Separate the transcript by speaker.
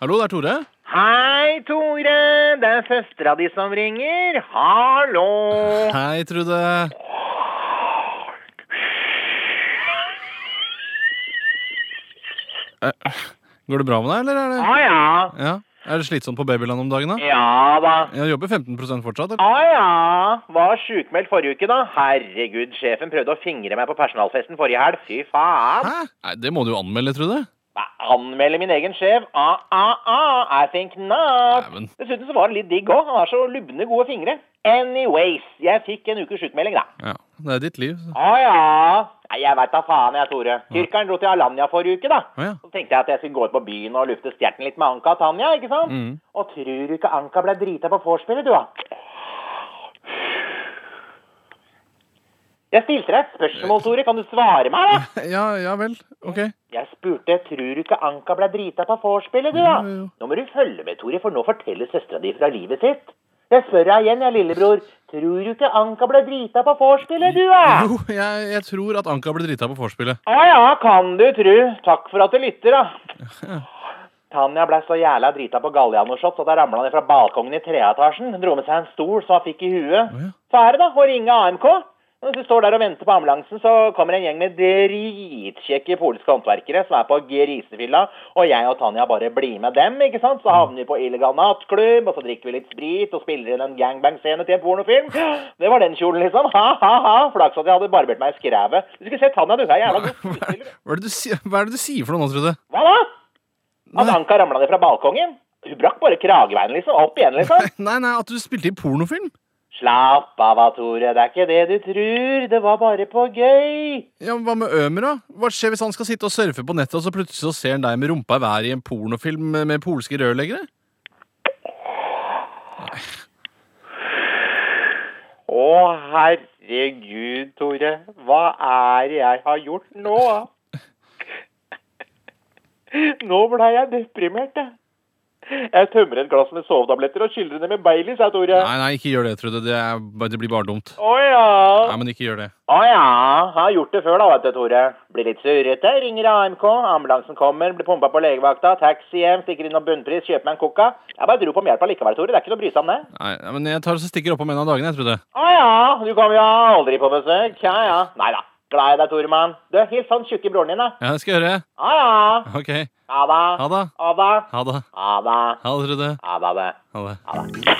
Speaker 1: Hallo, det er Tore.
Speaker 2: Hei, Tore. Det er søstera di som ringer. Hallo.
Speaker 1: Hei, Trude. Eh, Går det bra med deg, eller er det
Speaker 2: Å ja.
Speaker 1: Ja. Er det slitsomt på babyland om dagen, da?
Speaker 2: Ja da.
Speaker 1: Jeg jobber 15 fortsatt, eller?
Speaker 2: Å ja. Var sjukmeldt forrige uke, da. Herregud, sjefen prøvde å fingre meg på personalfesten forrige helg. Fy faen.
Speaker 1: Hæ? Nei, det må du jo anmelde, Trude.
Speaker 2: Anmelde min egen sjef? Ah, ah, ah. I think not.
Speaker 1: Nei, men-
Speaker 2: Dessuten så var det litt digg òg. Han har så lubne, gode fingre. Anyways, jeg fikk en ukes sjukmelding, da.
Speaker 1: Ja, det er ditt liv. så-
Speaker 2: Å ja. Nei, jeg veit da faen, jeg, Tore. Tyrkeren dro til Alanya forrige uke, da.
Speaker 1: Å ja.
Speaker 2: Så tenkte jeg at jeg skulle gå ut på byen og lufte stjerten litt med Anka og Tanja, ikke sant?
Speaker 1: Mm.
Speaker 2: Og tror du ikke Anka ble drita på vorspielet, du, da? Jeg stilte deg et spørsmål, Tore. Kan du svare meg, da?
Speaker 1: Ja, ja vel. Ok.
Speaker 2: Jeg spurte tror du ikke Anka ble drita på vorspielet, du, da?
Speaker 1: Jo, jo, jo.
Speaker 2: Nå må du følge med, Tore, for nå forteller søstera di fra livet sitt. Jeg spør deg igjen, jeg, lillebror. Tror du ikke Anka ble drita på vorspielet, du, da?
Speaker 1: Jo, jeg, jeg tror at Anka ble drita på vorspielet.
Speaker 2: Ja, Ah, ja, kan du tru. Takk for at du lytter, da. Tanja ble så jævla drita på Galliano-shots at hun ramla ned fra balkongen i treetasjen. Dro med seg en stol som hun fikk i huet.
Speaker 1: Å, ja.
Speaker 2: Så er det, da, å ringe AMK. Når du står der og venter på ambulansen, så kommer en gjeng med dritkjekke polske håndverkere som er på grisefylla, og jeg og Tanja bare blir med dem, ikke sant? Så havner vi på illegal nattklubb, og så drikker vi litt sprit og spiller inn en gangbang-scene til en pornofilm. Det var den kjolen, liksom. Ha, ha, ha. Flaks at jeg hadde barbert meg i skrevet. Du skulle sett Tanja, du. Hun er jævla god skuespiller.
Speaker 1: Hva er det du, si- hva er det du sier for noe nå, Trude?
Speaker 2: Hva da? At
Speaker 1: Nei.
Speaker 2: Anka ramla ned fra balkongen? Hun brakk bare krageveien, liksom. Opp igjen, liksom.
Speaker 1: Nei, nei, at du spilte i pornofilm?
Speaker 2: Slapp av, Tore. Det er ikke det du tror. Det var bare på gøy.
Speaker 1: Ja, men Hva med Ømer, da? Hva skjer hvis han skal sitte og surfe på nettet, og så plutselig så ser han deg med rumpa i været i en pornofilm med, med polske rørleggere?
Speaker 2: Å, herregud, Tore. Hva er det jeg har gjort nå? Nå blei jeg deprimert, jeg. Jeg tømmer et glass med sovetabletter og skyller det med Baileys, jeg, Tore.
Speaker 1: Nei, nei, ikke gjør det, Trude. Det, er, bare- det blir bare dumt.
Speaker 2: Å ja.
Speaker 1: Nei, men ikke gjør det.
Speaker 2: Å ja, har gjort det før da, vet du, Tore. Blir litt surrete, ringer AMK, ambulansen kommer, blir pumpa på legevakta, taxi hjem, stikker innom bunnpris, kjøper meg en coca. Jeg bare dro på om hjelp allikevel, Tore. Det er ikke noe å bry seg om, det.
Speaker 1: Nei, nei, men Jeg tar og så stikker opp om en av dagene, jeg, Trude.
Speaker 2: Å ja, du kommer jo aldri på besøk. Ja ja. Nei da. Glad i deg, Tore, mann. Du, hils han tjukke broren din, da.
Speaker 1: Ja, det skal jeg gjøre.
Speaker 2: Å ja.
Speaker 1: Ok.
Speaker 2: Ha det.
Speaker 1: Ha det.
Speaker 2: Ha det.
Speaker 1: Ha det.
Speaker 2: Ha det.
Speaker 1: Ha det, Trude.
Speaker 2: Ha det.
Speaker 1: Ha det.
Speaker 2: Ha det.